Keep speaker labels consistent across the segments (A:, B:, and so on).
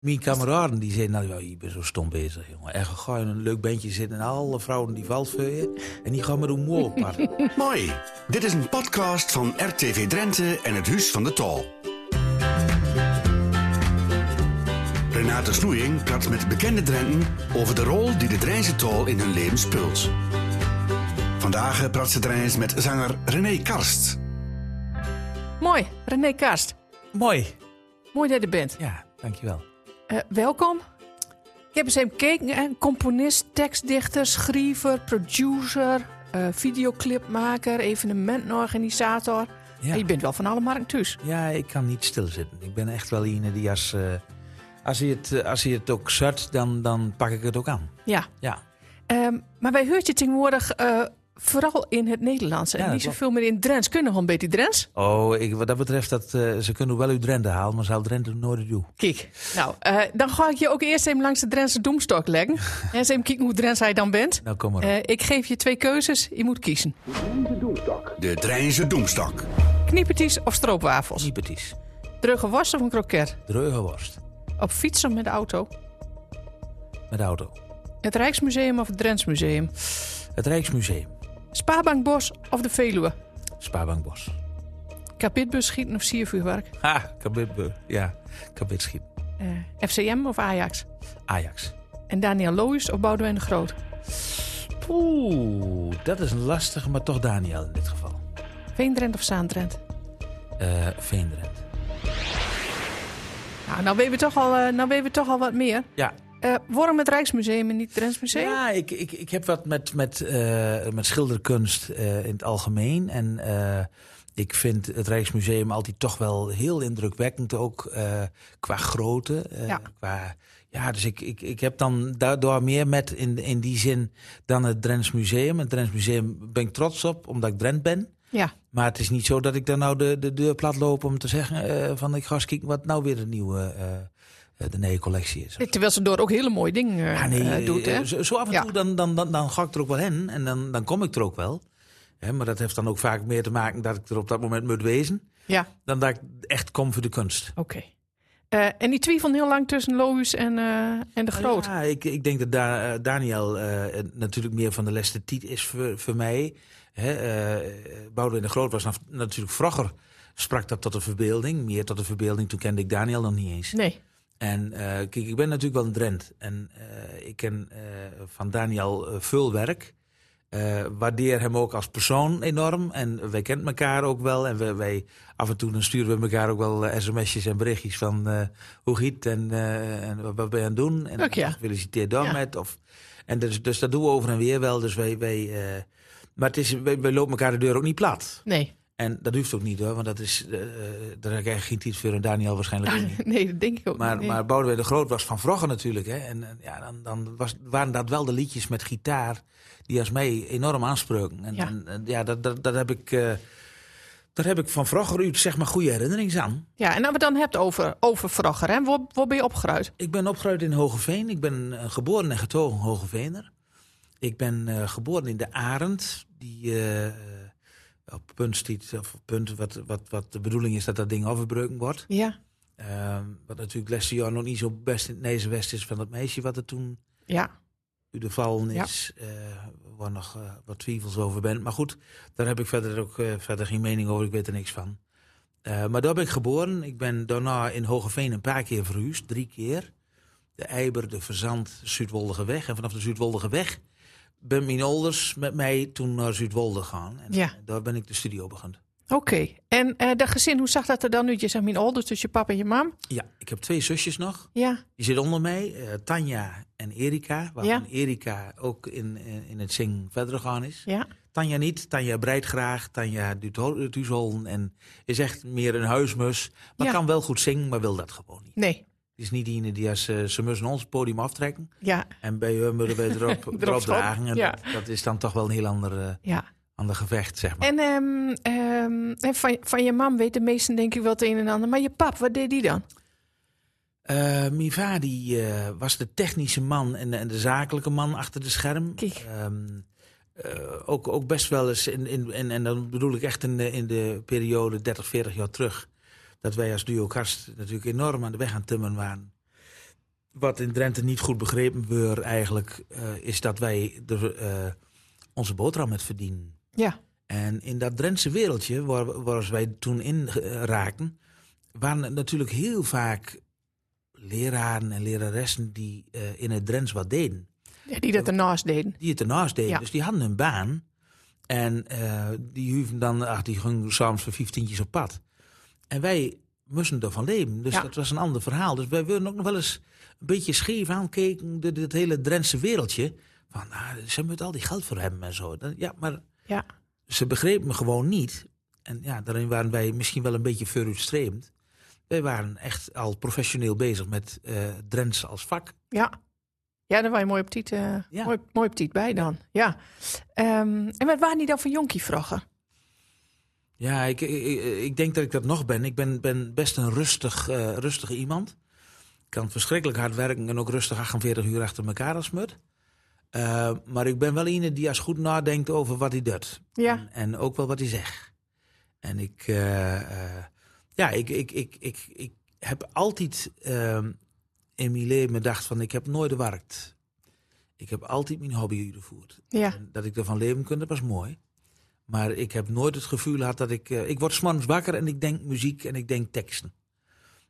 A: Mijn kameraden die zeiden, nou ja, je bent zo stom bezig, jongen. En ga je in een leuk bandje zitten en alle vrouwen die valt voor je. En die gaan met humor op pad.
B: Mooi. Dit is een podcast van RTV Drenthe en het Huis van de Tal. Renate Snoeing praat met bekende Drenten over de rol die de Drijnse Tal in hun leven speelt. Vandaag praat ze Drijns met zanger René Karst.
C: Mooi, René Karst.
A: Mooi.
C: Mooi dat je er bent.
A: Ja, dankjewel.
C: Eh, welkom. Ik heb eens even gekeken. hè. Componist, tekstdichter, schrijver, producer, eh, videoclipmaker, evenementenorganisator.
A: Ja.
C: En je bent wel van alle markten thuis.
A: Ja, ik kan niet stilzitten. Ik ben echt wel iemand die als... eh, als hij het, eh, als hij het ook zet, dan, dan pak ik het ook aan.
C: Ja.
A: Ja,
C: Ehm, maar wij hoort je tegenwoordig eh, vooral in het Nederlands. En
A: Ja, dat
C: niet zoveel meer in het Drents. Kunnen gewoon beter Drents?
A: Oh, ik, wat dat betreft, dat, eh, ze kunnen wel uit Drenthe halen, maar ze halen Drenthe nooit uit jou.
C: Kijk, nou, eh, dan ga ik je ook eerst even langs de Drentse doemstok leggen. en eens even kijken hoe Drents hij dan bent.
A: Nou, kom maar op.
C: Eh, ik geef je twee keuzes. Je moet kiezen.
B: De Drijnse Doemstak.
C: Kniepertjes of stroopwafels?
A: Siepertjes,
C: Drugge worst of een kroket?
A: dreuge worst,
C: Op fiets of met de auto?
A: met de auto.
C: Het Rijksmuseum of het Drents Museum?
A: Het Rijksmuseum,
C: Spaarbank Bos of de Veluwe?
A: Spaarbank Bos.
C: Kapitbus schieten of siervuurwerk?
A: Ha, Kabitbe, ja, Kabitschip.
C: Eh, FCM of Ajax?
A: Ajax.
C: En Daniel Looijs of Boudewijn de Groot?
A: Oeh, dat is een lastige, maar toch Daniel in dit geval.
C: Veendrent of Zaandrent?
A: Eh Veendrent.
C: Nou, nou weten we toch al, eh, nou weten we toch al wat meer.
A: Ja,
C: Eh, waarom het Rijksmuseum en niet het Drents Museum?
A: Ja, ik, ik, ik heb wat met, met, eh, met schilderkunst eh, in het algemeen. En eh, ik vind het Rijksmuseum altijd toch wel heel indrukwekkend, ook eh, qua grootte. eh,
C: Ja.
A: Qua, ja, dus ik, ik, ik heb dan daardoor meer met in, in die zin dan het Drents Museum. Het Drents Museum ben ik trots op, omdat ik Drent ben.
C: Ja.
A: Maar het is niet zo dat ik daar nou de, de deur plat loop om te zeggen eh, van ik ga eens kijken wat nou weer de nieuwe eh, eh, de nieuwe collectie is.
C: Terwijl ze door ook hele mooie dingen eh,
A: Ja, nee,
C: eh, doet,
A: eh,
C: hè?
A: Zo, zo af en
C: Ja.
A: toe dan, dan, dan, dan ga ik er ook wel heen en dan, dan kom ik er ook wel. Hè, maar dat heeft dan ook vaak meer te maken dat ik er op dat moment moet wezen.
C: Ja,
A: Dan dat ik echt kom voor de kunst.
C: oké. Eh, en die twijfel heel lang tussen Looijs en, eh, en de Groot.
A: Ja, ik, ik denk dat Da- eh, Daniel eh, eh, natuurlijk meer van de leste tiet is voor, voor mij. Hè, eh, Boudewijn de Groot was naf- natuurlijk vroeger, sprak dat tot de verbeelding. Meer tot de verbeelding, toen kende ik Daniel nog niet eens.
C: Nee.
A: En eh, kijk, ik ben natuurlijk wel een Drent. En eh, ik ken eh, van Daniel eh, veel werk. Eh, waardeer hem ook als persoon enorm. En wij kennen elkaar ook wel. En wij, wij- af en toe dan sturen we elkaar ook wel eh, sms'jes en berichtjes van eh, hoe giet en, eh, en wat, wat ben je aan het doen. En
C: Ook ja.
A: gefeliciteerd daarmet. Of, en dus, dus dat doen we over en weer wel. Dus wij, wij, eh, maar het is, wij, wij lopen elkaar de deur ook niet plat.
C: Nee.
A: En dat hoeft ook niet hoor, want dat is, eh, eh, daar heb ik eigenlijk geen tijd voor en Daniel waarschijnlijk ook niet.
C: Ah, Nee, dat denk ik ook
A: Maar,
C: niet.
A: maar Boudewijn de Groot was van vroeger natuurlijk. Hè? En eh, ja, dan, dan was, waren dat wel de liedjes met gitaar die als mij enorm aanspreken. En
C: Ja.
A: ja, en, eh, ja dat, dat, dat heb ik, eh, daar heb ik van vroeger uit zeg maar goede herinneringen aan.
C: Ja, en als we het dan hebt over, over vroeger, hè? Waar, waar ben je opgeruid?
A: Ik ben opgegroeid in Hogeveen. Ik ben eh, geboren en getogen Hogeveener. Ik ben eh, geboren in de Arend, die eh, eh, op punt stiet, of op punt wat, wat, wat de bedoeling is dat dat ding overbreuken wordt.
C: Ja.
A: Ehm, wat natuurlijk laatste jaar nog niet zo best in het Nezenwest is van dat meisje wat er toen
C: Ja.
A: u de vallen
C: Ja.
A: is, eh, waar nog eh, wat twijfels over bent. Maar goed, daar heb ik verder ook eh, verder geen mening over, ik weet er niks van. Eh, maar daar ben ik geboren. Ik ben daarna in Hogeveen een paar keer verhuisd, drie keer. De Eiber, de Verzand, Zuidwoldigeweg. En vanaf de Zuidwoldigeweg ben mijn ouders met mij toen naar Zuidwolde gaan. En
C: Ja.
A: daar ben ik de studio begonnen.
C: Oké. En eh dat gezin, hoe zag dat er dan uit? Je zegt mijn ouders, dus je papa en je mam.
A: Ja, ik heb twee zusjes nog.
C: Ja.
A: Die zit onder mij, eh, Tanja en Erika. Waarvan
C: Ja.
A: Erika ook in, in, in het zingen verder gegaan is.
C: Ja.
A: Tanja niet. Tanja breidt graag. Tanja doet ho- doet huishouden en is echt meer een huismus. Maar
C: Ja.
A: kan wel goed zingen, maar wil dat gewoon niet.
C: Nee.
A: Het is niet diegene die als eh, ze mussen ons podium aftrekken.
C: Ja.
A: En bij hun moeten wij erop, erop,
C: schoppen,
A: dragen. En
C: ja.
A: dat, dat is dan toch wel een heel ander, eh,
C: Ja.
A: ander gevecht, zeg maar.
C: En ehm, ehm, en van, van je mam weten de meesten denk ik wel het een en ander. Maar je pap, wat deed die dan?
A: Eh, Miva die, eh, was de technische man en, en de zakelijke man achter de scherm.
C: Kijk.
A: Ehm, eh, ook, ook best wel eens, in, in, in- en dan bedoel ik echt in de, in de periode 30, 40 jaar terug. Dat wij als duo Karst natuurlijk enorm aan de weg aan het timmeren waren. wat in Drenthe niet goed begrepen wordt eigenlijk, eh, is dat wij er, eh, onze boterham met verdienen.
C: Ja.
A: En in dat Drentse wereldje, waar, waar wij toen in eh, raakten, waren er natuurlijk heel vaak leraren en leraressen die eh, in het Drents wat deden.
C: Ja, die dat ernaast deden.
A: Die het ernaast deden.
C: Ja.
A: Dus die hadden hun baan. En eh, die huven dan, ach, die gingen soms voor vijftientjes op pad. En wij moesten ervan leven. Dus
C: Ja.
A: dat was een ander verhaal. Dus wij werden ook nog wel eens een beetje scheef aankeken door dit hele Drentse wereldje. Van, nou, ze moeten al die geld voor hebben en zo. Dan- Ja, maar
C: Ja.
A: ze begreep me gewoon niet. En ja, daarin waren wij misschien wel een beetje verutstreemd. Wij waren echt al professioneel bezig met eh Drents als vak.
C: Ja. Ja, daar was je mooi op tiet, eh,
A: Ja.
C: mooi, mooi op tiet bij dan. Ja. Ehm, en wat waren die dan voor jonkie vroeger?
A: Ja, ik, ik, ik- ik denk dat ik dat nog ben. Ik ben, ben best een rustig, eh rustige iemand. Ik kan verschrikkelijk hard werken en ook rustig 48 uur achter elkaar als mut. Eh, maar ik ben wel iemand die als goed nadenkt over wat hij doet.
C: Ja.
A: En, en ook wel wat hij zegt. En ik, eh, eh, ja, ik, ik, ik, ik, ik heb altijd ehm, in mijn leven gedacht van ik heb nooit gewerkt. Ik heb altijd mijn hobby uitgevoerd.
C: Ja.
A: En Dat ik ervan leven kon, dat was mooi. Maar ik heb nooit het gevoel gehad dat ik... eh, ik word 's morgens wakker en ik denk muziek en ik denk teksten.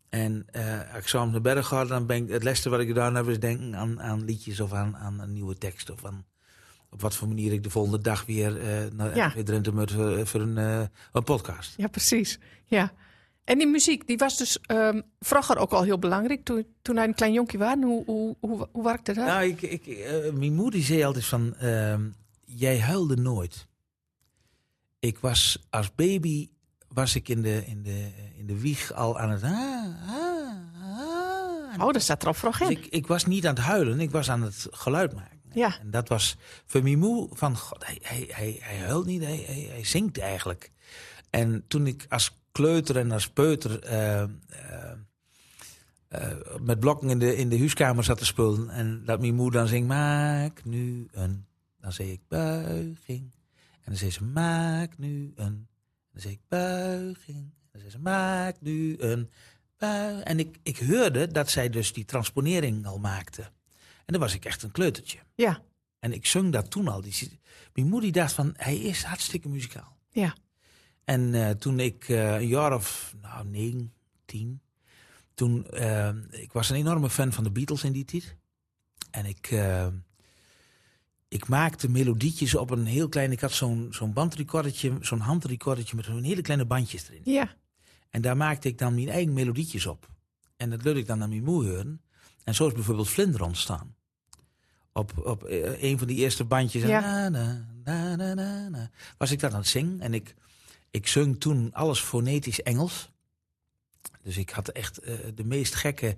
A: En eh, als ik soms naar berg ga, dan ben ik... Het laatste wat ik gedaan heb is denken aan, aan liedjes of aan, aan een nieuwe tekst. Of aan op wat voor manier ik de volgende dag weer eh naar
C: Ja.
A: weer Drenthe moet voor, voor een, eh, een podcast.
C: Ja, precies. Ja. En die muziek, die was dus ehm vroeger ook al heel belangrijk. Toen, toen hij een klein jonkie was, hoe, hoe, hoe, hoe werkte dat?
A: Nou, ik, ik, eh, mijn moeder die zei altijd van... ehm, jij huilde nooit. Ik was als baby was ik in de, in de, in de wieg al aan het... Ah, ah, ah.
C: oh, dat staat er al vroeg
A: Dus
C: in.
A: ik, ik was niet aan het huilen, ik was aan het geluid maken.
C: Ja.
A: En dat was voor Mimou van, god, hij, hij, hij, hij huilt niet, hij, hij, hij zingt eigenlijk. En toen ik als kleuter en als peuter eh, eh, eh, met blokken in de, in de huiskamer zat te spullen... en dat Mimou dan zingt, maak nu een... Dan zei ik buiging. En dan zei ze, maak nu een... Dan zei ik buiging. Dan zei ze, maak nu een... bui-" En ik, ik hoorde dat zij dus die transponering al maakte. En dan was ik echt een kleutertje.
C: Ja.
A: En ik zong dat toen al. Die, zit- mijn moeder dacht van, hij is hartstikke muzikaal.
C: Ja.
A: En eh, toen ik eh, een jaar of nou, negen, tien... Toen, eh, ik was een enorme fan van de Beatles in die tijd. En ik, eh, ik maakte melodietjes op een heel klein... Ik had zo'n zo'n bandrecordertje, zo'n handrecordertje met zo'n hele kleine bandjes erin.
C: Ja.
A: En daar maakte ik dan mijn eigen melodietjes op. En dat liet ik dan aan mijn moeder horen. En zo is bijvoorbeeld Vlinder ontstaan. Op, op eh, een van die eerste bandjes.
C: Ja.
A: Na, na, na, na, na, na, was ik dat aan het zingen. En ik, ik zong toen alles fonetisch Engels. Dus ik had echt eh, de meest gekke,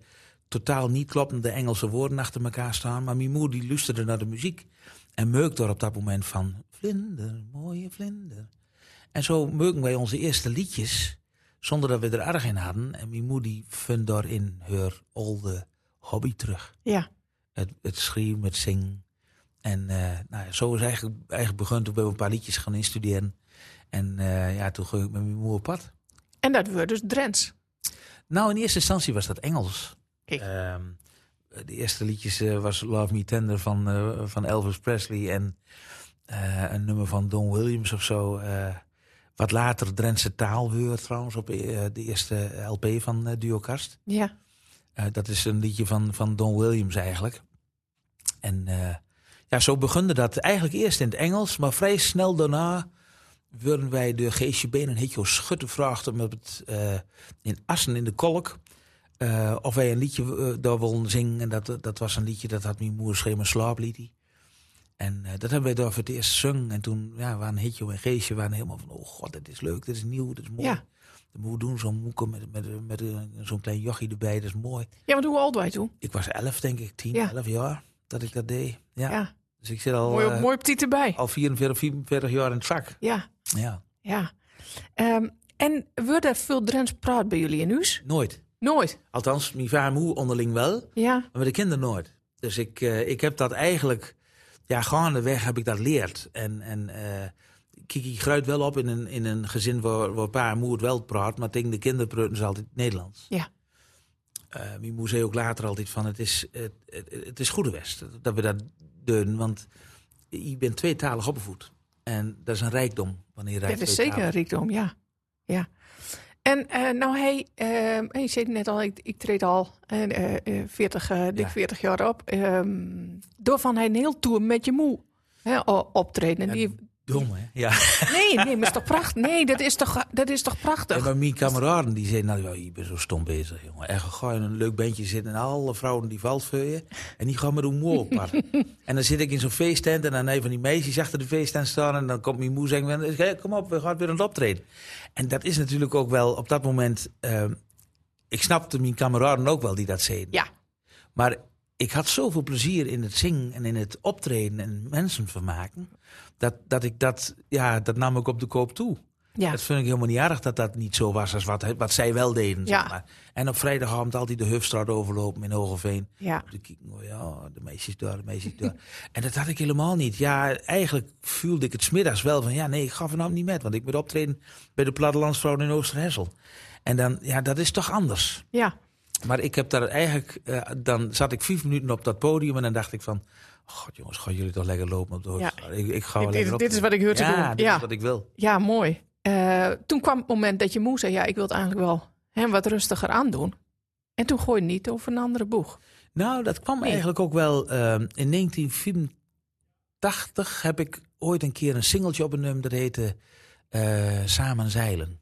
A: totaal niet kloppende Engelse woorden achter elkaar staan. Maar mijn moeder die luisterde naar de muziek. En meukte er op dat moment van... Vlinder, mooie vlinder. En zo meuken wij onze eerste liedjes zonder dat we er erg in hadden. En mijn moeder die vond daarin haar oude hobby terug.
C: Ja.
A: Het, het schreeuwen, het zingen. En eh, nou, ja, zo is eigenlijk, eigenlijk begonnen. Toen ben ik een paar liedjes gaan instuderen. En eh, ja, toen ging ik met mijn moeder op pad.
C: En dat werd dus Drents.
A: Nou, in eerste instantie was dat Engels.
C: Kijk.
A: Ehm, de eerste liedjes eh, was Love Me Tender van, eh, van Elvis Presley en eh, een nummer van Don Williams of zo. eh, wat later Drentse taal weer trouwens op eh, de eerste LP van eh, Duo Karst.
C: Ja.
A: Eh, dat is een liedje van, van Don Williams eigenlijk. En eh, ja, zo begunde dat eigenlijk eerst in het Engels, maar vrij snel daarna werden wij door Geesje Been en Hitjo Schutte gevraagd om op het, eh, in Assen in de Kolk. eh, of wij een liedje eh, daar wilden zingen. En dat, dat was een liedje dat had mijn moeder schreef, een slaapliedje. En eh, dat hebben wij daar voor het eerst gezongen. En toen ja, waren Hitjo en Geesje waren helemaal van... oh god, dit is leuk, dit is nieuw, dit is mooi.
C: Ja.
A: Dat moeten we doen, zo'n moeke met, met, met, eh, zo'n klein jochie erbij, dat is mooi.
C: Ja, want hoe oud wij toen?
A: Ik was elf, denk ik, tien,
C: Ja.
A: elf jaar dat ik dat deed. Ja.
C: Ja.
A: Dus ik zit al,
C: Mooi, op,
A: eh,
C: mooi op tiet erbij.
A: al 44, 45 jaar in het vak.
C: Ja.
A: Ja.
C: Ja. Ehm, en wordt er veel Drents praat bij jullie in huis?
A: Nooit.
C: Nooit.
A: Althans, mijn vader en moe onderling wel,
C: Ja.
A: maar met de kinderen nooit. Dus ik, eh, ik heb dat eigenlijk, ja, gaandeweg heb ik dat leerd. En, en eh, Kiki gruit wel op in een, in een gezin waar, waar pa en moe het wel praat, maar tegen de kinderen praten ze altijd Nederlands.
C: Ja.
A: Eh wie moest ook later altijd van, het is, het, het, het is goede west dat we dat doen. Want je bent tweetalig opgevoed. En dat is een rijkdom. Wanneer je
C: Dat is
A: tweetalig
C: zeker een rijkdom, ja. ja. En eh, nou, hij, eh, hij zei net al, ik, ik treed al eh, eh, 40, eh, dik
A: Ja.
C: 40 jaar op. Ehm doorvan hij een heel tour met je moe hè, o- optreden. En
A: Ja,
C: die,
A: Dom, hè? Ja.
C: nee, nee, maar is toch prachtig? Nee, dat is toch, dat is toch
A: En
C: prachtig?
A: maar mijn kameraden die zeiden, nou, joh, je bent zo stom bezig, jongen. En ga in een leuk bandje zitten en alle vrouwen die valt voor je. En die gaan met een moe op. en dan zit ik in zo'n feesttent en dan een van die meisjes achter de feesttent staan. En dan komt mijn moe zeggen, "Hey, kom op, we gaan weer aan het optreden. En dat is natuurlijk ook wel op dat moment... ehm, ik snapte mijn kameraden ook wel die dat zeiden.
C: Ja,
A: Maar ik had zoveel plezier in het zingen en in het optreden en mensen vermaken. Dat, dat ik dat, ja, dat nam ik op de koop toe.
C: ja.
A: Dat vind ik helemaal niet erg dat dat niet zo was als wat, wat zij wel deden.
C: Ja.
A: Zeg maar. En op vrijdagavond altijd de Hufstraat overlopen in Hogeveen.
C: ja.
A: Op de Kieken, oh ja, de meisjes door, de meisjes door. en dat had ik helemaal niet. Ja, eigenlijk voelde ik het smiddags wel van... ja, nee, ik ga vanavond niet met, want ik moet optreden... bij de Plattelandsvrouwen in Oosterhessel. En dan, ja, dat is toch anders.
C: ja.
A: Maar ik heb daar eigenlijk... eh, dan zat ik vijf minuten op dat podium en dan dacht ik van... "Oh god jongens, gaan jullie toch lekker lopen op de Hufstraat. Ik, ik ga wel
C: Dit-
A: lekker
C: dit is
A: optreden.
C: wat ik hoor te
A: ja,
C: doen.
A: dit
C: Ja.
A: is wat ik wil.
C: Ja, mooi. Eh, toen kwam het moment dat je moe zei: Ja, ik wil het eigenlijk wel hè, wat rustiger aandoen. En toen gooi je niet over een andere boeg.
A: Nou, dat kwam
C: Nee.
A: eigenlijk ook wel. ehm, in 1984 heb ik ooit een keer een singeltje opgenomen. Dat heette eh, Samen Zeilen.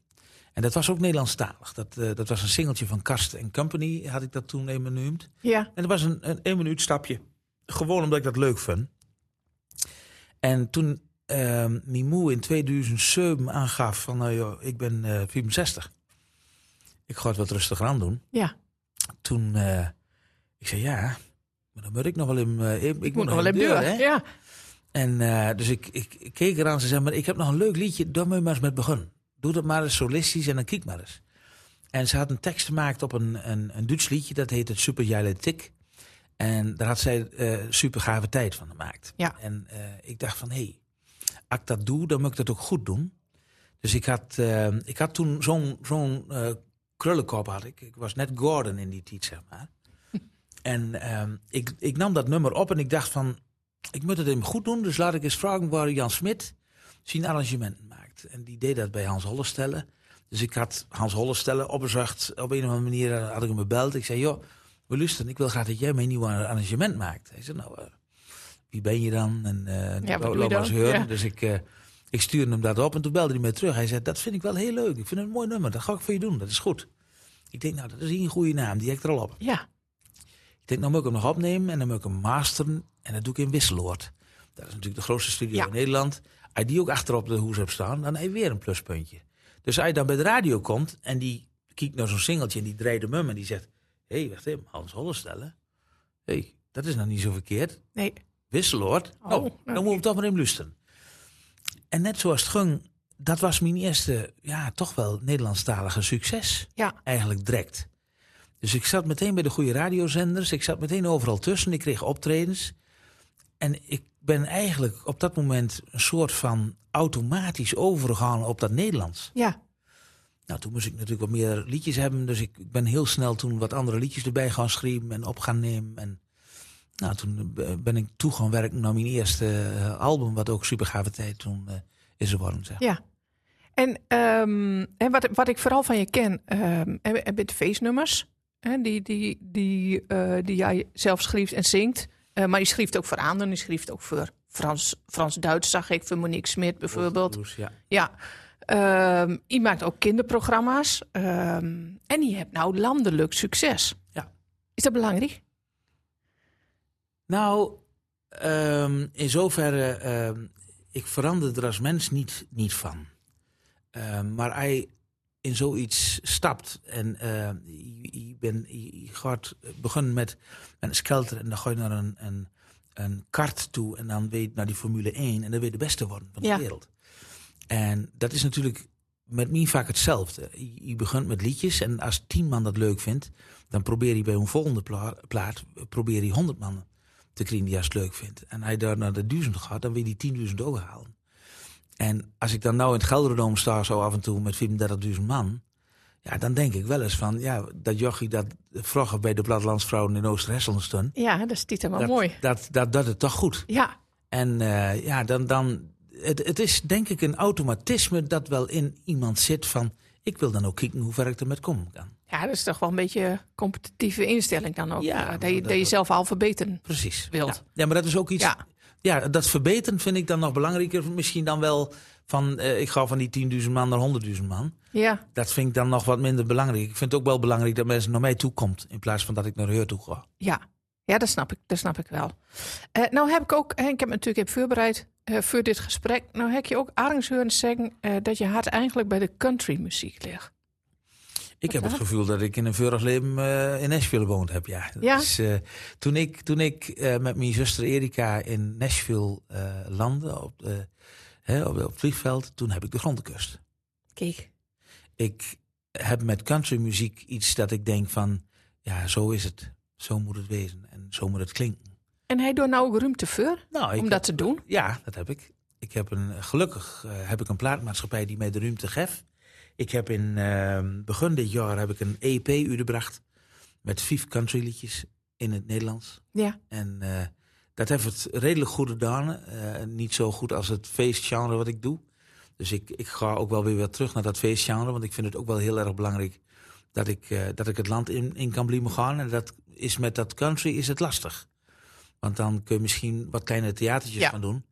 A: En dat was ook Nederlandstalig. Dat, eh, dat was een singeltje van Kast Company, had ik dat toen een minuut.
C: Ja,
A: En dat was een, een één minuut stapje. Gewoon omdat ik dat leuk vond. En toen ehm mijn moe in 2007 aangaf van, nou joh, ik ben eh 64. Ik ga het wat rustiger aan doen
C: ja.
A: toen, eh, ik zei ja, maar dan moet ik nog wel in, eh, ik,
C: Ik moet nog wel even
A: deur,
C: deur.
A: hè?
C: Ja,
A: En eh, dus ik, ik, ik keek eraan, ze zei, maar ik heb nog een leuk liedje, daar moet je maar eens met beginnen. Doe dat maar eens solistisch en dan kijk maar eens. En ze had een tekst gemaakt op een, een, een Duits liedje, dat heet het Super Jale Tik. En daar had zij eh super gave tijd van gemaakt.
C: Ja.
A: En eh, ik dacht van, hé, hey, als ik dat doe, dan moet ik dat ook goed doen. Dus ik had, eh, ik had toen zo'n zo'n eh, krullenkop, had ik. ik was net Gordon in die tijd, zeg maar. en ehm, ik, ik nam dat nummer op en ik dacht van, ik moet het hem goed doen, dus laat ik eens vragen waar Jan Smit zijn arrangementen maakt. En die deed dat bij Hans Hollestelle. Dus ik had Hans Hollestelle opgezocht. Op een of andere manier eh, had ik hem gebeld. Ik zei, joh, we luisteren, ik wil graag dat jij mijn nieuw arrangement maakt. Hij zei, nou, eh, wie ben je dan? En eh
C: Ja, wat
A: lo-
C: doe je
A: loop maar eens
C: dan?
A: horen.
C: Ja.
A: Dus ik, eh, ik stuurde hem dat op en toen belde hij mij terug. Hij zei, dat vind ik wel heel leuk. Ik vind het een mooi nummer, dat ga ik voor je doen, dat is goed. Ik denk, nou, dat is hier een goede naam, die heb ik er al op.
C: ja.
A: Ik denk, nou moet ik hem nog opnemen en dan moet ik hem masteren. En dat doe ik in Wisseloord. Dat is natuurlijk de grootste studio
C: Ja.
A: in Nederland. Als je die ook achterop de hoes hebt staan, dan heb je weer een pluspuntje. Dus als je dan bij de radio komt en die kijkt naar zo'n singeltje en die draait hem om en die zegt... Hé, hey, wacht even, Hans Hollestelle. Hé, hey, dat is nog niet zo verkeerd.
C: Nee.
A: Wisseloord.
C: Oh,
A: nou,
C: nou,
A: dan moeten we toch maar in lusten. En net zoals het ging, dat was mijn eerste, ja, toch wel Nederlandstalige succes
C: Ja,
A: eigenlijk direct. Dus ik zat meteen bij de goede radiozenders. Ik zat meteen overal tussen. Ik kreeg optredens. En ik ben eigenlijk op dat moment een soort van automatisch overgegaan op dat Nederlands.
C: ja.
A: Nou, toen moest ik natuurlijk wat meer liedjes hebben. Dus ik, ik ben heel snel toen wat andere liedjes erbij gaan schrijven en op gaan nemen. En nou, toen eh, ben ik toe gaan werken naar mijn eerste eh, album. Wat ook super gave tijd toen eh, is geworden. Zeg.
C: ja. En, ehm, en wat, wat ik vooral van je ken, ehm en, en met feestnummers, hè, die, die, die, eh, die jij zelf schrijft en zingt. Eh, maar je schrijft ook voor anderen, je schrijft ook voor Frans- Frans-Duits, zag ik, voor Monique Smit bijvoorbeeld.
A: Dus, ja.
C: Ja. Ehm, je maakt ook kinderprogramma's. Ehm, en je hebt nou landelijk succes.
A: Ja.
C: Is dat belangrijk?
A: Nou, ehm, in zoverre, ehm, ik verander er als mens niet, niet van. Ehm, maar hij in zoiets stapt en ehm, je, je, ben, je, je gaat beginnen met een skelter en dan ga je naar een, een, een kart toe en dan weet naar die Formule 1 en dan weer de beste worden van
C: Ja.
A: de wereld. En dat is natuurlijk met mij vaak hetzelfde. Je, je begint met liedjes en als tien man dat leuk vindt, dan probeer je bij een volgende pla- plaat, probeer je honderd man te krijgen die hij het leuk vindt. En hij daar naar de duizend gaat, dan wil hij tienduizend ook halen. En als ik dan nou in het Gelderdoom sta, zo af en toe met 35.000 man. Ja, dan denk ik wel eens van, ja, dat jochie dat vroeger bij de Plattelandsvrouwen in Oost-Hesselsten...
C: Ja, dat is dit helemaal
A: Dat,
C: Oh, mooi.
A: dat, dat, dat het toch goed.
C: Ja,
A: En eh, ja, dan, dan het, het is denk ik een automatisme dat wel in iemand zit van... ik wil dan ook kijken hoe ver ik ermee komen kan.
C: ja, dat is toch wel een beetje competitieve instelling dan ook.
A: Ja,
C: eh, dat,
A: dat-
C: je, dat,
A: dat-
C: je zelf al verbeteren
A: Precies.
C: wilt.
A: Ja. ja, maar dat is ook iets...
C: Ja.
A: Ja. dat verbeteren vind ik dan nog belangrijker. Misschien dan wel van, eh, ik ga van die 10.000 man naar 100.000 man.
C: Ja,
A: Dat vind ik dan nog wat minder belangrijk. Ik vind het ook wel belangrijk dat mensen naar mij toe komt in plaats van dat ik naar haar toe ga.
C: ja. ja dat, snap ik, dat snap ik wel. Eh, nou heb ik ook, hè, ik heb me natuurlijk even voorbereid eh, voor dit gesprek. Nou heb je ook aardingshoorn zeggen eh, dat je hart eigenlijk bij de countrymuziek ligt.
A: Ik heb
C: Wat
A: het gevoel dat ik in een vurig leven eh, in Nashville gewoond heb, ja. Dat
C: Ja?
A: is, eh, toen ik, toen ik eh, met mijn zuster Erika in Nashville eh, landde, op, eh, hè, op, op het vliegveld, toen heb ik de grond gekust.
C: Kijk.
A: Ik heb met countrymuziek iets dat ik denk van, ja, zo is het. Zo moet het wezen en zo moet het klinken.
C: En hij doet nou ook ruimte voor
A: Nou, ik
C: om
A: heb-
C: dat te doen.
A: Ja, dat heb ik. ik heb een, gelukkig eh, heb ik een plaatmaatschappij die mij de ruimte geeft. Ik heb in ehm, begin dit jaar heb ik een EP uitgebracht met vijf countryliedjes in het Nederlands.
C: Ja,
A: En eh, dat heeft het redelijk goed gedaan. Eh, niet zo goed als het feestgenre wat ik doe. Dus ik, ik ga ook wel weer weer terug naar dat feestgenre. Want ik vind het ook wel heel erg belangrijk dat ik, eh, dat ik het land in, in kan blijven gaan. En dat is met dat country is het lastig. Want dan kun je misschien wat kleine theatertjes
C: Ja.
A: gaan doen.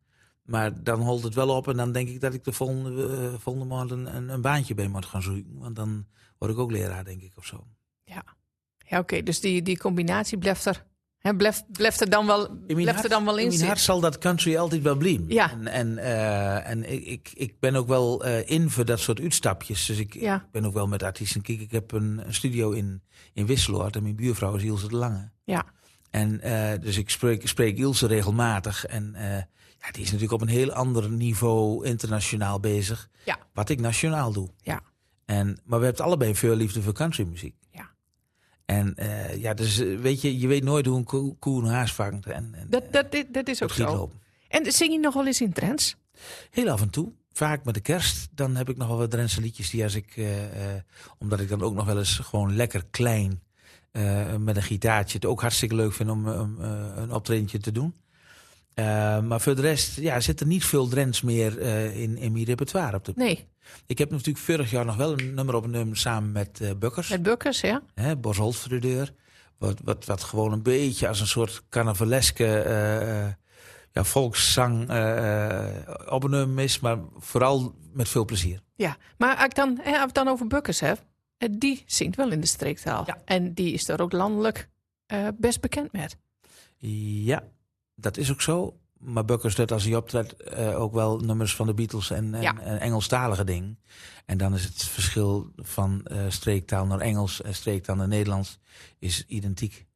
A: Maar dan holt het wel op en dan denk ik dat ik de volgende, eh, volgende maand een, een, een baantje bij moet gaan zoeken. Want dan word ik ook leraar, denk ik, of zo.
C: ja oké. Dus die, die combinatie blijft er, hè, blijft, blijft er, dan, wel,
A: In mijn,
C: blijft er dan wel in
A: mijn
C: zitten.
A: hart zal dat country altijd wel blijven.
C: Ja.
A: En, en, eh, en ik- ik, ik ben ook wel eh, in voor dat soort uitstapjes. Dus ik,
C: Ja.
A: ik ben ook wel met artiesten. Kijk, ik heb een, een studio in, in Wisseloord en mijn buurvrouw is Ilse de Lange.
C: Ja,
A: En eh, dus ik spreek, spreek Ilse regelmatig. En eh, ja, die is natuurlijk op een heel ander niveau internationaal bezig.
C: Ja.
A: Wat ik nationaal doe.
C: ja.
A: En, maar we hebben allebei veel liefde voor countrymuziek.
C: Ja.
A: En eh, ja, dus eh, weet je, je weet nooit hoe een koe, koe een haas vangt. En, en,
C: Dat, dat, dat, dat is ook
A: giet
C: zo.
A: lopen.
C: En zing je nog wel eens in trends?
A: Heel af en toe. Vaak met de kerst. Dan heb ik nog wel wat Drentse liedjes die als ik... eh, eh, omdat ik dan ook nog wel eens gewoon lekker klein... eh, met een gitaartje het ook hartstikke leuk vind om eh, om, eh, een optredentje te doen. Eh, maar voor de rest ja, zit er niet veel Drents meer eh, in, in mijn repertoire. Op de...
C: Nee,
A: Ik heb natuurlijk vorig jaar nog wel een nummer op een nummer samen met eh, Bukkers.
C: met bukkers, ja.
A: hè, Bos Holt voor de deur. Wat, wat, wat gewoon een beetje als een soort carnavaleske eh, eh, ja, volkszang eh, eh, op een nummer is, maar vooral met veel plezier.
C: ja. Maar als ik, dan, hè, als ik dan over bukkers heb, eh, die zingt wel in de streektaal.
A: Ja.
C: En die is daar ook landelijk eh, best bekend met.
A: Ja, dat is ook zo. Maar Bukkers doet als hij optreedt eh, ook wel nummers van de Beatles en, en,
C: Ja.
A: en Engelstalige dingen. En dan is het verschil van eh, streektaal naar Engels en streektaal naar Nederlands is identiek.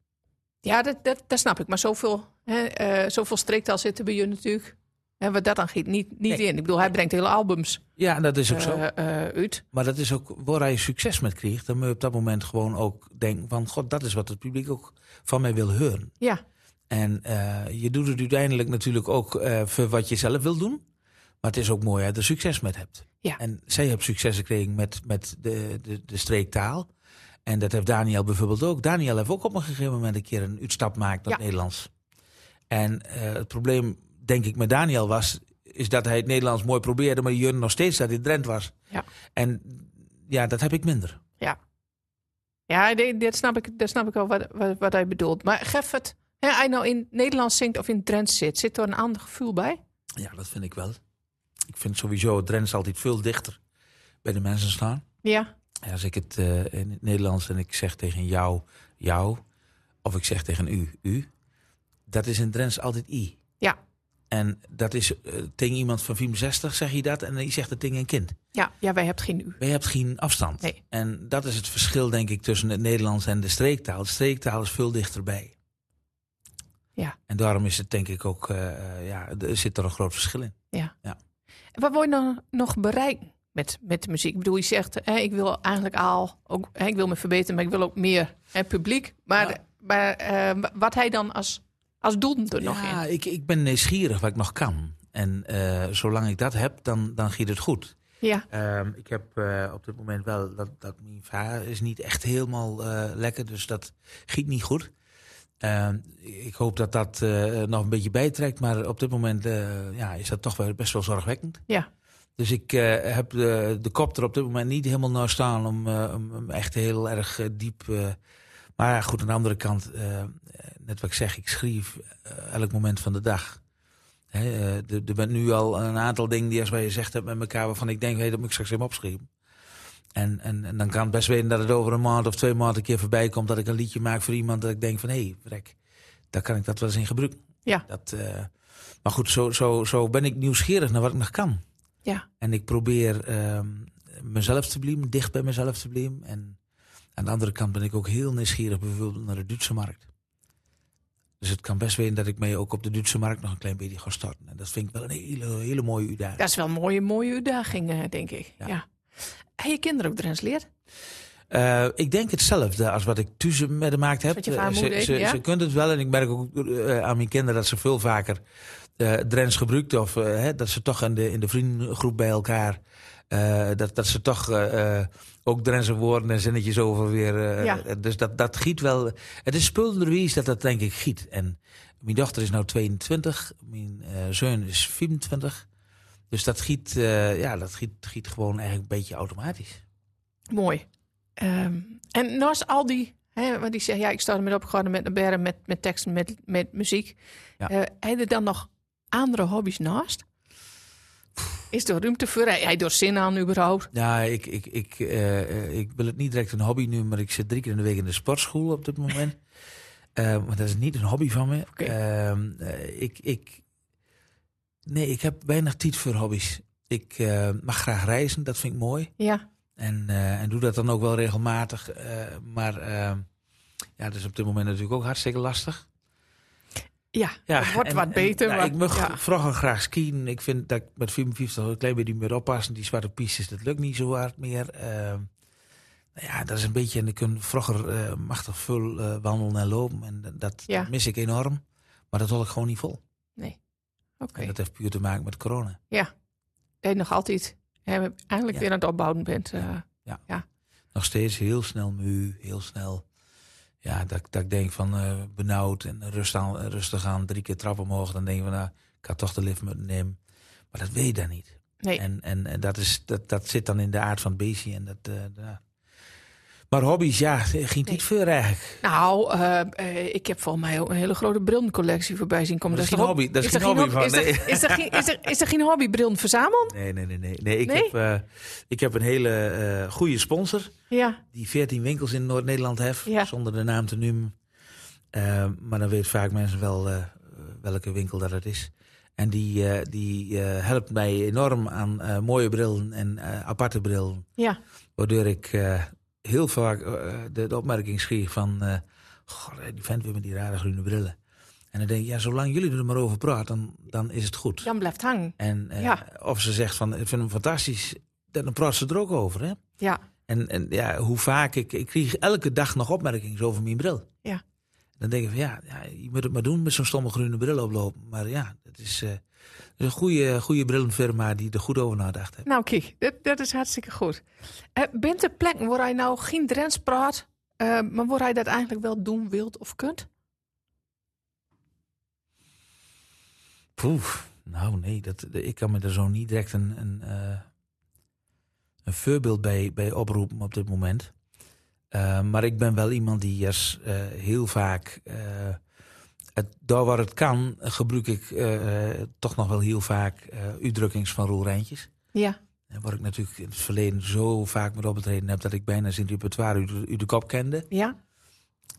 C: Ja, dat, dat, dat snap ik. Maar zoveel, hè, eh, zoveel streektaal zitten bij je natuurlijk. En wat dat dan giet niet, niet
A: Nee.
C: in. Ik bedoel, hij brengt hele albums
A: Ja, dat is ook zo.
C: eh, eh, uit.
A: Maar dat is ook waar je succes met krijgt. Dan moet je op dat moment gewoon ook denken van... God, dat is wat het publiek ook van mij wil horen.
C: Ja,
A: En eh, je doet het uiteindelijk natuurlijk ook eh, voor wat je zelf wil doen. Maar het is ook mooi dat je er succes met hebt.
C: Ja.
A: En zij heeft succes gekregen met, met de, de, de streektaal. En dat heeft Daniel bijvoorbeeld ook. Daniel heeft ook op een gegeven moment een keer een uitstap gemaakt naar
C: Ja.
A: het Nederlands. En eh, het probleem, denk ik, met Daniel was... is dat hij het Nederlands mooi probeerde... maar Jurgen nog steeds dat hij Drent was.
C: Ja.
A: En ja, dat heb ik minder.
C: ja nee, dat, snap ik, dat snap ik wel wat, wat, wat hij bedoelt. Maar geef het, hè, als hij nou in Nederlands zingt of in Drents zit, zit er een ander gevoel bij?
A: Ja, dat vind ik wel. Ik vind sowieso Drents altijd veel dichter bij de mensen staan.
C: Ja,
A: Ja, Als ik het eh, in het Nederlands en ik zeg tegen jou, jou, of ik zeg tegen u, u, dat is in Drents altijd i.
C: ja.
A: En dat is eh, tegen iemand van 65 zeg je dat en die zegt het tegen een kind.
C: Ja, ja wij hebben geen u.
A: Maar je hebt geen afstand.
C: Nee.
A: En dat is het verschil denk ik tussen het Nederlands en de streektaal. De streektaal is veel dichterbij.
C: Ja.
A: En daarom is het denk ik ook, eh, eh, ja, er zit er een groot verschil in.
C: Wat word je nou nog bereiken met, met de muziek? Ik bedoel, je zegt, hè, ik wil eigenlijk al, ook, hè, ik wil me verbeteren, maar ik wil ook meer hè, publiek. Maar,
A: Ja.
C: maar eh, wa- wat hij dan als, als doel er nog in?
A: ja, ik, ik ben nieuwsgierig wat ik nog kan. En eh, zolang ik dat heb, dan, dan giet het goed.
C: Ja.
A: Ehm, ik heb eh, op dit moment wel dat, dat mijn vaar is niet echt helemaal eh, lekker, dus dat giet niet goed. Ehm, ik hoop dat dat eh, nog een beetje bijtrekt, maar op dit moment eh, ja, is dat toch wel best wel zorgwekkend.
C: Ja.
A: Dus ik eh, heb de, de kop er op dit moment niet helemaal naar staan om, eh, om hem echt heel erg eh, diep. eh, maar ja, goed, aan de andere kant, eh, net wat ik zeg, ik schreef eh, elk moment van de dag. Hè, eh, er- er bent nu al een aantal dingen die als wij gezegd hebben met elkaar waarvan ik denk, hey, dat moet ik straks even opschrijven. En, en, en dan kan het best weten dat het over een maand of twee maanden een keer voorbij komt dat ik een liedje maak voor iemand dat ik denk van hé, hey, vrek, daar kan ik dat wel eens in gebruiken.
C: Ja.
A: Dat, eh, maar goed, zo, zo, zo ben ik nieuwsgierig naar wat ik nog kan.
C: Ja.
A: En ik probeer ehm, mezelf te blijven, dicht bij mezelf te blijven. En aan de andere kant ben ik ook heel nieuwsgierig bijvoorbeeld naar de Duitse markt. Dus het kan best weten dat ik mij ook op de Duitse markt nog een klein beetje ga starten. En dat vind ik wel een hele, hele mooie uitdaging.
C: Dat is wel een mooie, mooie uitdaging, eh, denk ik.
A: Ja.
C: Ja. Heb je kinderen ook Drents leert?
A: Eh, ik denk hetzelfde als wat ik tussen met gemaakt heb.
C: Wat je vaar
A: Eh, ze,
C: moeder
A: ze,
C: deed, ja?
A: ze kunt het wel en ik merk ook eh, aan mijn kinderen dat ze veel vaker eh Drents gebruikt. Of eh, hè, dat ze toch in de, in de vriendengroep bij elkaar. eh, dat, dat ze toch eh, eh, ook Drentse woorden en zinnetjes over weer. eh,
C: Ja.
A: Dus dat, dat giet wel. Het is spulderwijs dat dat denk ik giet. En mijn dochter is nou 22, mijn eh, zoon is 24. Dus dat giet, eh, ja, dat giet, giet gewoon eigenlijk een beetje automatisch.
C: Mooi. Ehm, en naast al die, hè, want die zeggen, ja, ik sta ermee opgegaan met een berm, met, met teksten, met, met muziek.
A: Ja.
C: Eh heb je er dan nog andere hobby's naast? Is er ruimte voor? Heb je er zin aan überhaupt?
A: Ja, ik, ik, ik, eh, eh, ik wil het niet direct een hobby noemen, maar ik zit drie keer in de week in de sportschool op dit moment. Eh, maar dat is niet een hobby van me.
C: Oké.
A: Ehm, eh, ik, ik, nee, ik heb weinig tijd voor hobby's. Ik eh, mag graag reizen, dat vind ik mooi.
C: Ja,
A: En, eh, en doe dat dan ook wel regelmatig. eh, maar ehm, ja, dat is op dit moment natuurlijk ook hartstikke lastig.
C: ja.
A: Ja,
C: Het wordt wat beter,
A: nou,
C: maar-
A: ik mag
C: ja.
A: vroeger graag skiën. Ik vind dat ik met 54 een klein beetje meer oppassen. Die zwarte pistes, dat lukt niet zo hard meer. Ehm, nou ja, dat is een beetje... En ik kun vroeger eh, machtig veel eh, wandelen en lopen. En dat- dat
C: Ja.
A: mis ik enorm. Maar dat hol ik gewoon niet vol.
C: oké.
A: En dat heeft puur te maken met corona.
C: Dat je nog altijd hè, eigenlijk
A: Ja.
C: weer aan het opbouwen bent. eh.
A: Nog steeds heel snel mu, heel snel... Ja, dat, dat ik denk van eh, benauwd en rust aan, rustig aan. Drie keer trap omhoog. Dan denk ik van, nou, ik had toch de lift moeten nemen. Maar dat weet je dan niet.
C: nee,
A: En, en, en dat, is, dat, dat zit dan in de aard van het beestje. En dat, eh, ja. Maar hobby's, ja, ging
C: Nee.
A: niet veel eigenlijk.
C: nou, eh, eh, ik heb volgens mij ook een hele grote brillencollectie voorbij zien komen.
A: Maar dat is
C: toch
A: geen
C: ook-
A: hobby, dat is
C: er
A: geen hobby
C: hob-
A: van,
C: Is er- is er geen- is er- is er geen hobbybrillen verzameld?
A: Nee, nee, nee. nee. nee, ik,
C: Nee?
A: Heb, eh, ik heb een hele eh, goede sponsor.
C: Ja,
A: Die 14 winkels in Noord-Nederland heeft.
C: Ja.
A: Zonder de naam te noemen. Eh, maar dan weet vaak mensen wel eh, welke winkel dat het is. En die, eh, die eh, helpt mij enorm aan eh, mooie brillen en eh, aparte brillen.
C: ja.
A: Waardoor ik eh, heel vaak eh, de, de opmerking schreef van... eh, "Goh, die vent weer met die rare groene brillen. En dan denk ik, ja, zolang jullie er maar over praten, dan, dan is het goed.
C: Dan blijft hangen.
A: En eh,
C: Ja.
A: of ze zegt van, ik vind hem fantastisch, dan praat ze er ook over. Hè?
C: Ja.
A: En, en ja, hoe vaak, ik, ik kreeg elke dag nog opmerkingen over mijn bril.
C: Ja.
A: Dan denk ik van, ja, ja je moet het maar doen met zo'n stomme groene bril oplopen. Maar ja, het is eh, een goede, goede brillenfirma die er goed over nadacht heeft.
C: Nou, kijk, dat, dat is hartstikke goed. Eh, bent er plekken waar hij nou geen Drents praat, eh, maar waar hij dat eigenlijk wel doen wilt of kunt?
A: Poef, nou nee, dat, ik kan me er zo niet direct een, een, eh, een voorbeeld bij, bij oproepen op dit moment. Eh, maar ik ben wel iemand die yes, eh, heel vaak, eh, het, daar waar het kan, gebruik ik eh, eh, toch nog wel heel vaak eh uitdrukkings van Roel Rijntjes.
C: Ja,
A: En Waar ik natuurlijk in het verleden zo vaak met opgetreden heb dat ik bijna zijn repertoire u de, uit de kop kende.
C: ja,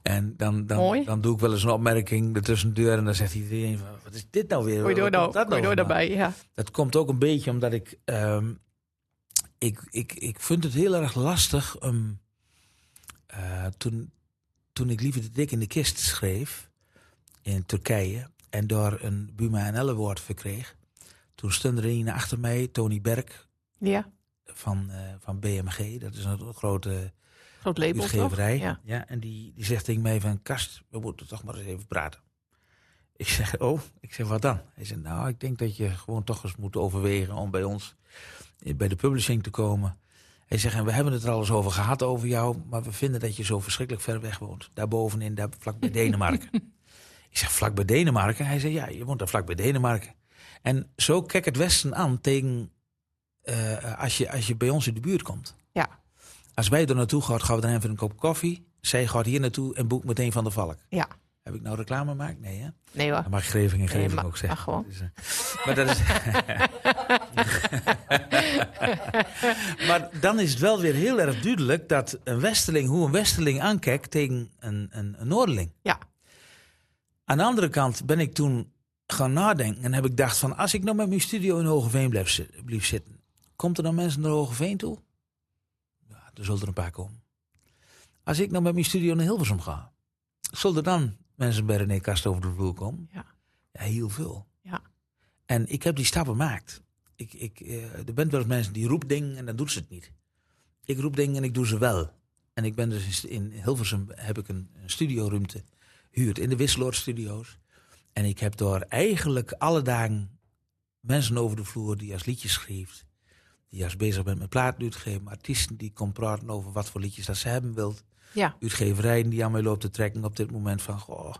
A: En dan, dan,
C: Mooi.
A: dan doe ik wel eens een opmerking ertussendeur en dan zegt iedereen van, wat is dit nou weer?
C: gooi door,
A: Wat
C: nou,
A: komt dat
C: gooi door
A: vandaan?"
C: daarbij. Ja.
A: Dat komt ook een beetje omdat ik. ehm, ik, ik, ik vind het heel erg lastig. om eh, toen, toen ik Lieve de Dik in de kist schreef. in Turkije. en door een Buma en Elle-woord verkreeg. toen stond er een achter mij, Tony Berk.
C: ja,
A: Van, eh, van BMG, dat is een grote
C: groot label toch?
A: uitgeverij.
C: Ja.
A: Ja. en die, die zegt tegen mij van... Kast, we moeten toch maar eens even praten. Ik zeg, oh, ik zeg, wat dan? Hij zegt, nou, ik denk dat je gewoon toch eens moet overwegen om bij ons, eh, bij de publishing te komen. Hij zegt, en we hebben het er al eens over gehad over jou, maar we vinden dat je zo verschrikkelijk ver weg woont. Daarbovenin, daar vlak bij Denemarken. ik zeg, vlak bij Denemarken? Hij zegt, ja, je woont daar vlak bij Denemarken. En zo kijk het Westen aan tegen, eh, als, je, als je bij ons in de buurt komt.
C: Ja.
A: Als wij er naartoe gaan, gaan we dan even een kop koffie. Zij gaat hier naartoe en boekt meteen van de valk.
C: Ja.
A: Heb ik nou reclame gemaakt? Nee, hè?
C: Nee hoor.
A: Dat mag Greving en Greving
C: Nee, ma-
A: ook zeggen.
C: mag gewoon.
A: Dat is, eh, maar, dat is, maar dan is het wel weer heel erg duidelijk dat een westeling, hoe een westeling aankijkt tegen een, een, een noorderling.
C: Ja.
A: Aan de andere kant ben ik toen gaan nadenken en heb ik gedacht van... als ik nou met mijn studio in Hogeveen blijf, zi- blijf zitten... komt er dan mensen naar Hogeveen toe? Ja, er zullen er een paar komen. Als ik nou met mijn studio naar Hilversum ga... zullen er dan mensen bij René Kast over de vloer komen?
C: Ja.
A: Ja, heel veel.
C: Ja.
A: En ik heb die stappen gemaakt. Ik, ik, eh, er bent wel eens mensen die roepen dingen en dan doen ze het niet. Ik roep dingen en ik doe ze wel. En ik ben dus in, in Hilversum heb ik een, een studioruimte huurt in de Wisseloord Studios. En ik heb daar eigenlijk alle dagen mensen over de vloer die als liedjes schreef. Die als bezig bent met plaat uitgeven. Artiesten die komen praten over wat voor liedjes dat ze hebben wilt.
C: Ja.
A: Uitgeverijen die aan mij loopt te trekken op dit moment van... Goh,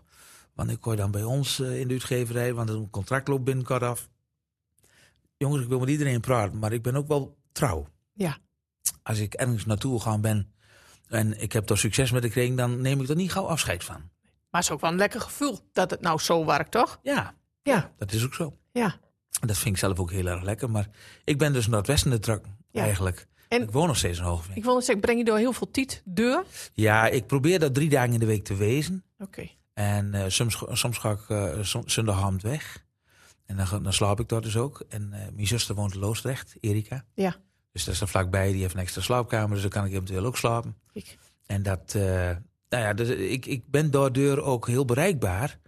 A: wanneer kom je dan bij ons eh, in de uitgeverij? Want een contract loopt binnenkort af. Jongens, ik wil met iedereen praten, maar ik ben ook wel trouw.
C: Ja.
A: Als ik ergens naartoe gaan ben en ik heb daar succes met gekregen... dan neem ik er niet gauw afscheid van.
C: Maar het is ook wel een lekker gevoel dat het nou zo werkt, toch?
A: Ja,
C: Ja.
A: dat is ook zo.
C: Ja.
A: En Dat vind ik zelf ook heel erg lekker. Maar ik ben dus Noordwesten de truck
C: Ja.
A: eigenlijk.
C: En-
A: ik woon nog steeds in Hoogveen.
C: Ik wil net zeggen, breng je door heel veel tijd deur. Oké.
A: Ja, ik probeer dat drie dagen in de week te wezen. En eh, soms, soms ga ik eh, som- zondagavond weg. En dan, ga- dan slaap ik daar dus ook. En eh, mijn zuster woont in Loosdrecht, Erika.
C: Ja.
A: Dus dat is er vlakbij. Die heeft een extra slaapkamer. Dus dan kan ik eventueel ook slapen.
C: Ik-
A: En dat, eh, nou ja, dus ik, ik ben daardoor ook heel bereikbaar.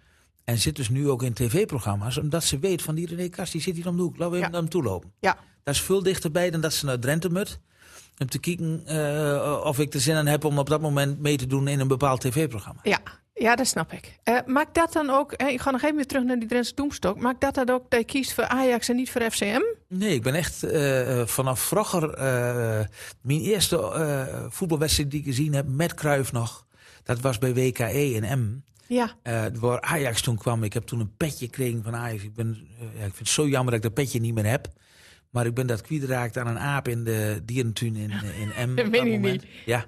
A: En zit dus nu ook in tv-programma's, omdat ze weet van die René Kast, die zit hier om de hoek. Laten we even
C: Ja.
A: naar hem toe lopen.
C: Ja.
A: Dat is veel dichterbij dan dat ze naar Drenthe moet. Om te kijken eh, of ik er zin aan heb om op dat moment mee te doen in een bepaald tv-programma.
C: Ja. Ja, dat snap ik. Eh, maakt dat dan ook, eh, ik ga nog even weer terug naar die Drentse Doemstok. Maakt dat dan ook dat je kiest voor Ajax en niet voor FCM?
A: Nee, ik ben echt eh, eh, vanaf vroeger... eh, mijn eerste eh, voetbalwedstrijd die ik gezien heb, met Kruif nog... dat was bij WKE in M.
C: Ja.
A: eh waar Ajax toen kwam. Ik heb toen een petje gekregen van Ajax. Ik, ben, eh, ja, ik vind het zo jammer dat ik dat petje niet meer heb. Maar ik ben dat kwijtgeraakt aan een aap in de dierentuin in, eh, in Emmen.
C: Dat
A: op
C: meen je
A: moment. Ja.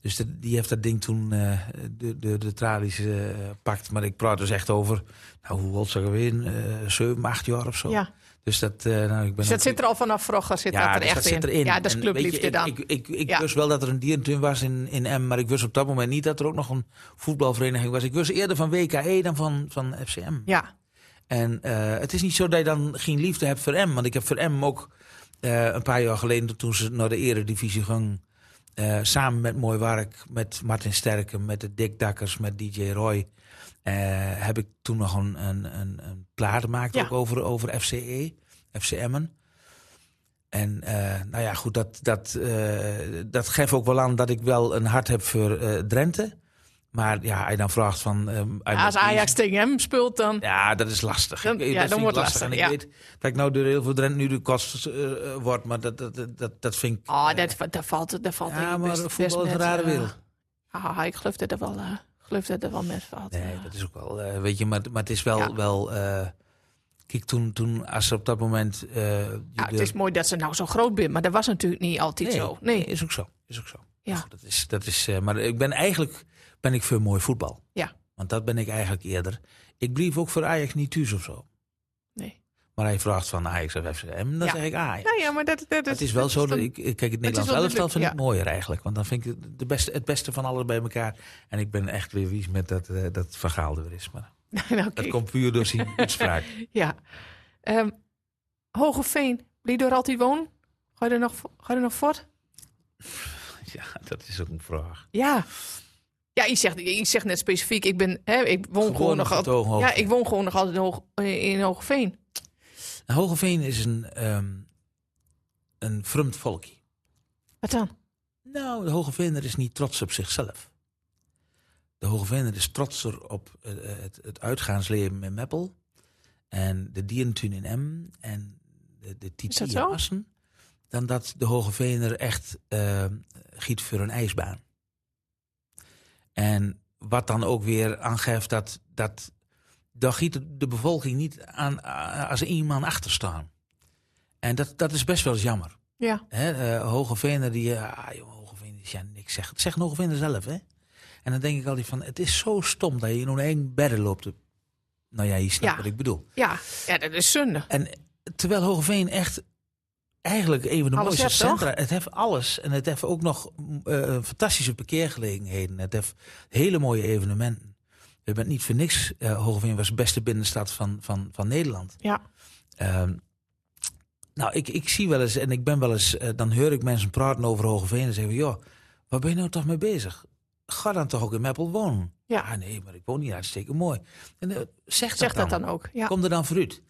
A: Dus de- die heeft dat ding toen eh, de, de, de tralies eh, pakt. Maar ik praat dus echt over, nou hoe oud zou ik weer? Zeven, acht jaar of zo.
C: ja.
A: Dus dat, eh, nou, ik ben
C: Dus dat zit er al vanaf vroeger, zit dat er
A: dus
C: echt in.
A: zit erin.
C: Ja, dat is
A: En weet je,
C: clubliefde
A: ik-
C: dan.
A: Ik, ik, ik
C: Ja.
A: wist wel dat er een dierentuin was in, in M, maar ik wist op dat moment niet dat er ook nog een voetbalvereniging was. Ik wist eerder van WKE dan van, van FCM.
C: ja.
A: En eh, het is niet zo dat je dan geen liefde hebt voor M. Want ik heb voor M ook eh, een paar jaar geleden, toen ze naar de eredivisie ging, eh, samen met Mooi Wark, met Martin Sterken, met de Dick Dakkers, met DJ Roy, eh, heb ik toen nog een, een, een, een plaat gemaakt
C: Ja.
A: ook over, over E, FCE, FCM'en. En eh, nou ja, goed, dat, dat, eh, dat geeft ook wel aan dat ik wel een hart heb voor eh, Drenthe. Maar ja, hij dan vraagt van... ehm, hij
C: Als
A: moet kiezen.
C: Ajax tegen hem speelt dan...
A: Ja, dat is lastig.
C: Dan-
A: Ik- ik-
C: ja,
A: dat
C: dan
A: vind ik
C: wordt het
A: En ik
C: lastig,
A: weet dat ik nou door heel veel Drent nu de kost eh, eh, word, maar dat, dat, dat- dat, dat vind ik...
C: Oh, dat, dat valt, dat valt denk
A: ja,
C: ik
A: maar
C: best-
A: voetbal is
C: best
A: een
C: net,
A: rare
C: eh,
A: wereld.
C: Ah, ik geloof dat er wel, eh, ik geloof dat er wel met valt.
A: Nee,
C: eh.
A: dat is ook wel... eh, weet je, maar, maar het is wel...
C: Ja.
A: wel eh, kijk, toen, toen als ze op dat moment... eh, je
C: ja, het
A: deur-
C: is mooi dat ze nou zo groot bent, maar dat was natuurlijk niet altijd
A: nee,
C: zo.
A: nee,
C: Nee,
A: is ook zo. Is ook zo.
C: Ja.
A: Maar goed, Dat is, dat is, eh, maar ik ben eigenlijk ben ik voor mooi voetbal.
C: Ja.
A: Want dat ben ik eigenlijk eerder. Ik blief ook voor Ajax niet thuis of zo.
C: nee.
A: Maar hij vraagt van Ajax of FCM, dan
C: Ja.
A: zeg ik Ajax.
C: Nou ja, maar dat, dat
A: Het is wel zo dat
C: dan-
A: ik ik kijk het Nederlands
C: wel
A: elftal vind ik
C: duidelijk,
A: mooier eigenlijk, want dan vind ik het de beste, het beste van alles bij elkaar. En ik ben echt weer wies met dat eh, dat verhaal er weer is, maar
C: Nou, oké,
A: dat komt puur door zijn uitspraak.
C: Ja. Ehm Hogeveen, die door altijd woon? Ga je er nog, ga je er nog voort?
A: Ja, dat is ook een vraag.
C: Ja. Ja, ik zeg, ik zeg net specifiek, ik, ben, hè, ik woon
A: Geboren
C: gewoon nog
A: op het
C: altijd...
A: Hooghoofd.
C: Ja, ik woon gewoon nog altijd in, Hoog, eh, in Hogeveen.
A: Nou, Hogeveen is een ehm een vreemd volkje.
C: Wat dan?
A: Nou, de Hogeveener is niet trots op zichzelf. De Hoogeveener is trotser op eh, het, het uitgaansleven in Meppel. En de dierentuin in Em. En de, de Titi
C: dat
A: in
C: zo?
A: Assen. Dan dat de Hoogeveener echt eh, giet voor een ijsbaan. En wat dan ook weer aangeeft dat... dat dan giet de- de bevolking niet aan, a- als één man achter staan. En dat, dat is best wel eens jammer.
C: Ja,
A: Hè, eh, Hogeveen, die, eh, ah joh, Hogeveen, die ja, niks zegt. Het zegt Hogeveen zelf, hè. En dan denk ik altijd van, het is zo stom dat je in een eigen bedden loopt. te- Nou ja, je snapt
C: Ja.
A: wat ik bedoel.
C: ja. ja dat is zonde.
A: En terwijl Hogeveen echt eigenlijk een van de
C: Alles
A: mooiste
C: heeft, toch?
A: centra... Het heeft alles. En het heeft ook nog mm, eh, fantastische parkeergelegenheden. Het heeft hele mooie evenementen. We bent niet voor niks. eh Hogeveen was de beste binnenstad van, van, van Nederland.
C: Ja,
A: Ehm, nou, ik, ik zie wel eens en ik ben wel eens, eh, dan hoor ik mensen praten over Hogeveen en zeggen: joh, waar ben je nou toch mee bezig? Ga dan toch ook in Meppel wonen?
C: Ja.
A: Ah nee, maar ik woon hier hartstikke mooi. En, eh, zeg dat
C: zeg
A: dan.
C: dat dan ook. Ja,
A: Kom er dan vooruit.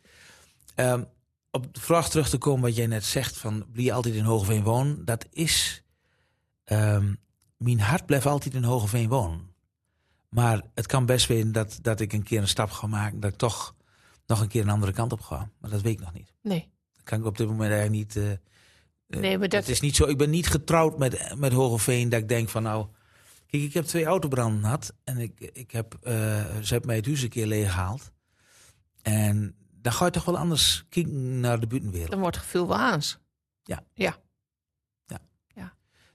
A: Ehm, op de vraag terug te komen wat jij net zegt: van blijf je altijd in Hogeveen wonen? Dat is. ehm, mijn hart blijft altijd in Hogeveen wonen. Maar het kan best wezen dat, dat ik een keer een stap ga maken. Dat ik toch nog een keer een andere kant op ga. Maar dat weet ik nog niet.
C: nee.
A: Dat kan ik op dit moment eigenlijk niet. eh, eh,
C: Nee, maar dat-
A: Het is niet zo. Ik ben niet getrouwd met, met Hogeveen. Dat ik denk van nou. Kijk, ik heb twee autobranden gehad. En ik, ik heb, eh, ze hebben mij het huis een keer leeggehaald. En dan ga je toch wel anders kijken naar de buitenwereld.
C: Dan wordt het veel waans.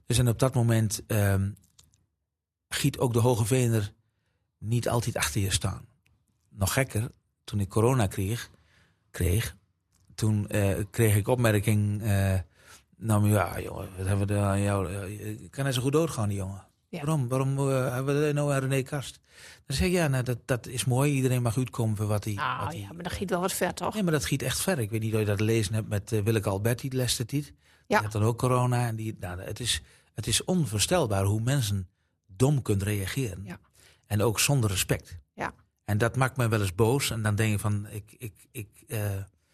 A: Dus en op dat moment ehm, giet ook de Hogeveener niet altijd achter je staan. Nog gekker, toen ik corona kreeg, kreeg toen eh, kreeg ik opmerking... eh, nou maar ja, jongen, wat hebben we daar aan jou... eh, Kan hij zo goed doodgaan, die jongen?
C: Ja.
A: Waarom? Waarom eh, hebben we daar nou aan René Kast? Dan zeg ik, ja, nou, dat, dat is mooi. Iedereen mag uitkomen voor wat hij...
C: Nou
A: wat hij-
C: ja, maar dat giet wel wat ver, toch?
A: Nee, maar dat giet echt ver. Ik weet niet of je dat gelezen hebt met eh, Willeke Alberti de laatste tijd. Die
C: Ja.
A: had dan ook corona. En die, nou, het, is, het is onvoorstelbaar hoe mensen dom kunnen reageren.
C: Ja.
A: En ook zonder respect.
C: Ja.
A: En dat maakt mij wel eens boos. En dan denk je van, ik, ik, ik, eh,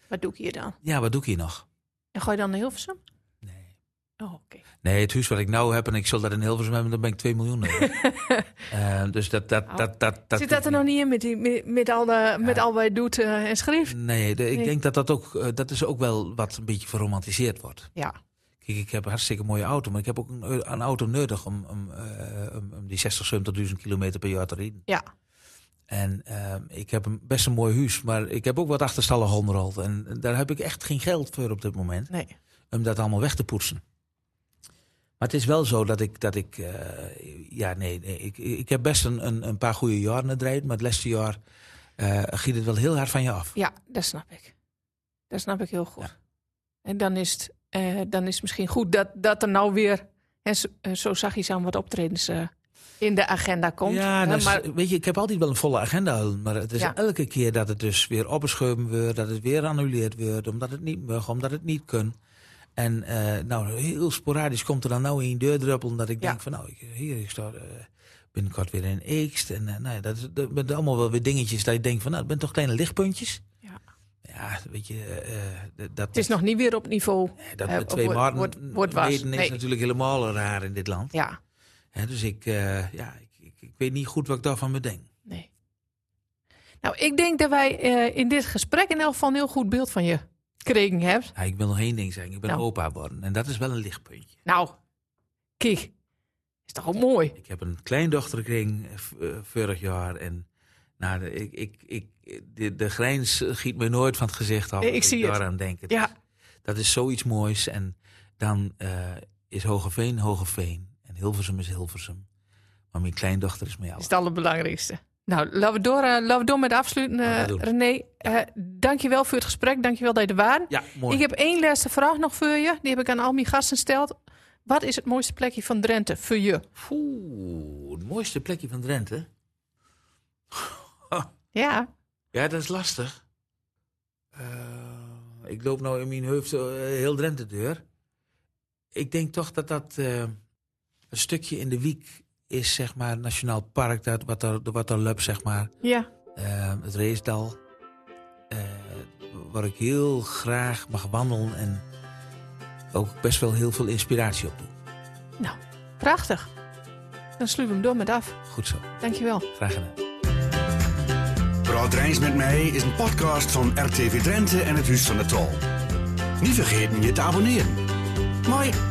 C: Wat doe ik hier dan?
A: ja, wat doe ik hier nog?
C: En gooi je dan naar Hilversum?
A: Nee.
C: Oh, oké.
A: nee, het huis wat ik nou heb en ik zal dat in Hilversum hebben, dan ben ik 2 miljoen. euro. Eh, dus dat... dat,
C: Nou.
A: dat, dat, dat
C: Zit dat er nog niet in met, die, met, met al, de, met al wat je doet eh, en schreef?
A: Nee, de- ik
C: Nee.
A: denk dat dat ook, eh, dat is ook wel wat een beetje verromantiseerd wordt.
C: Ja,
A: Kijk, ik heb een hartstikke mooie auto, maar ik heb ook een, eu- een auto nodig om, om, eh, om- om die 60, 70.000 kilometer per jaar te rijden.
C: ja.
A: En ehm, ik heb een, best een mooi huis, maar ik heb ook wat achterstallig onderhoud. En daar heb ik echt geen geld voor op dit moment,
C: Nee.
A: om dat allemaal weg te poetsen. Maar het is wel zo dat ik, dat ik eh, ja nee, nee, ik, ik heb best een, een, een paar goede jaren gedraaid, maar het laatste jaar eh giet het wel heel hard van je af.
C: Ja, dat snap ik. Dat snap ik heel goed.
A: Ja.
C: En dan is, het, eh, dan is het misschien goed dat, dat er nou weer, hè, zo, eh, zo zag je aan wat optredens eh, in de agenda komt.
A: Ja,
C: Hè,
A: dat is-
C: maar
A: weet je, ik heb altijd wel een volle agenda, maar het is
C: Ja.
A: elke keer dat het dus weer opgeschoven wordt, dat het weer annuleerd wordt, omdat het niet mag, omdat het niet kan. En eh, nou, heel sporadisch komt er dan nou een deurdruppel dat ik
C: Ja.
A: denk van nou, ik, hier ik sta eh, binnenkort weer in Eekst. En eh, nou ja, dat, is- dat zijn allemaal wel weer dingetjes dat je denkt van nou, dat zijn toch kleine lichtpuntjes.
C: Ja.
A: Ja, weet je, eh, eh, dat,
C: het is nog niet weer op niveau.
A: dat
C: eh,
A: met twee
C: wordt-
A: maarten
C: wordt- wordt was.
A: meten is
C: Nee.
A: natuurlijk helemaal raar in dit land.
C: Ja,
A: Hè, dus ik, eh, ja, ik, ik, ik weet niet goed wat ik daarvan bedenk.
C: nee. Nou, ik denk dat wij eh, in dit gesprek in elk geval een heel goed beeld van je kregen hebben.
A: Ja, ik wil nog één ding zeggen. Ik ben
C: Nou.
A: opa geworden. En dat is wel een lichtpuntje.
C: Nou, kijk, is toch ook mooi?
A: Ik heb een kleindochter gekregen eh, v- eh, vorig jaar. En nou, de- ik, ik, ik, de, de grijns giet me nooit van het gezicht af.
C: Nee, ik
A: als
C: zie het.
A: daaraan denk. Het
C: Ja.
A: is- Dat is zoiets moois. En dan eh, is Hogeveen Hogeveen. En Hilversum is Hilversum. Maar mijn kleindochter is mij
C: Dat
A: alles.
C: is het allerbelangrijkste. Nou, laten we door, eh, laten we door met afsluiten,
A: Laten we
C: eh,
A: doen.
C: René. Eh dankjewel voor het gesprek. Dankjewel dat je er waren.
A: Ja, mooi.
C: Ik heb één laatste vraag nog voor je. Die heb ik aan al mijn gasten gesteld. Wat is het mooiste plekje van Drenthe voor je?
A: Oeh, het mooiste plekje van Drenthe.
C: Ja,
A: Ja, dat is lastig. Eh, ik loop nou in mijn hoofd eh, heel Drenthe deur. Ik denk toch dat dat eh, een stukje in de wiek is, zeg maar, Nationaal Park, dat, wat, er, wat er loopt, zeg maar.
C: ja,
A: Eh, het Reesdal. Eh, waar ik heel graag mag wandelen en ook best wel heel veel inspiratie op doe.
C: Nou, prachtig. Dan sluiten we hem door met af.
A: Goed zo.
C: Dankjewel.
A: Graag gedaan.
B: Praat Drijns met mij is een podcast van RTV Drenthe en het Huis van de Tal. Niet vergeten je te abonneren. Mooi.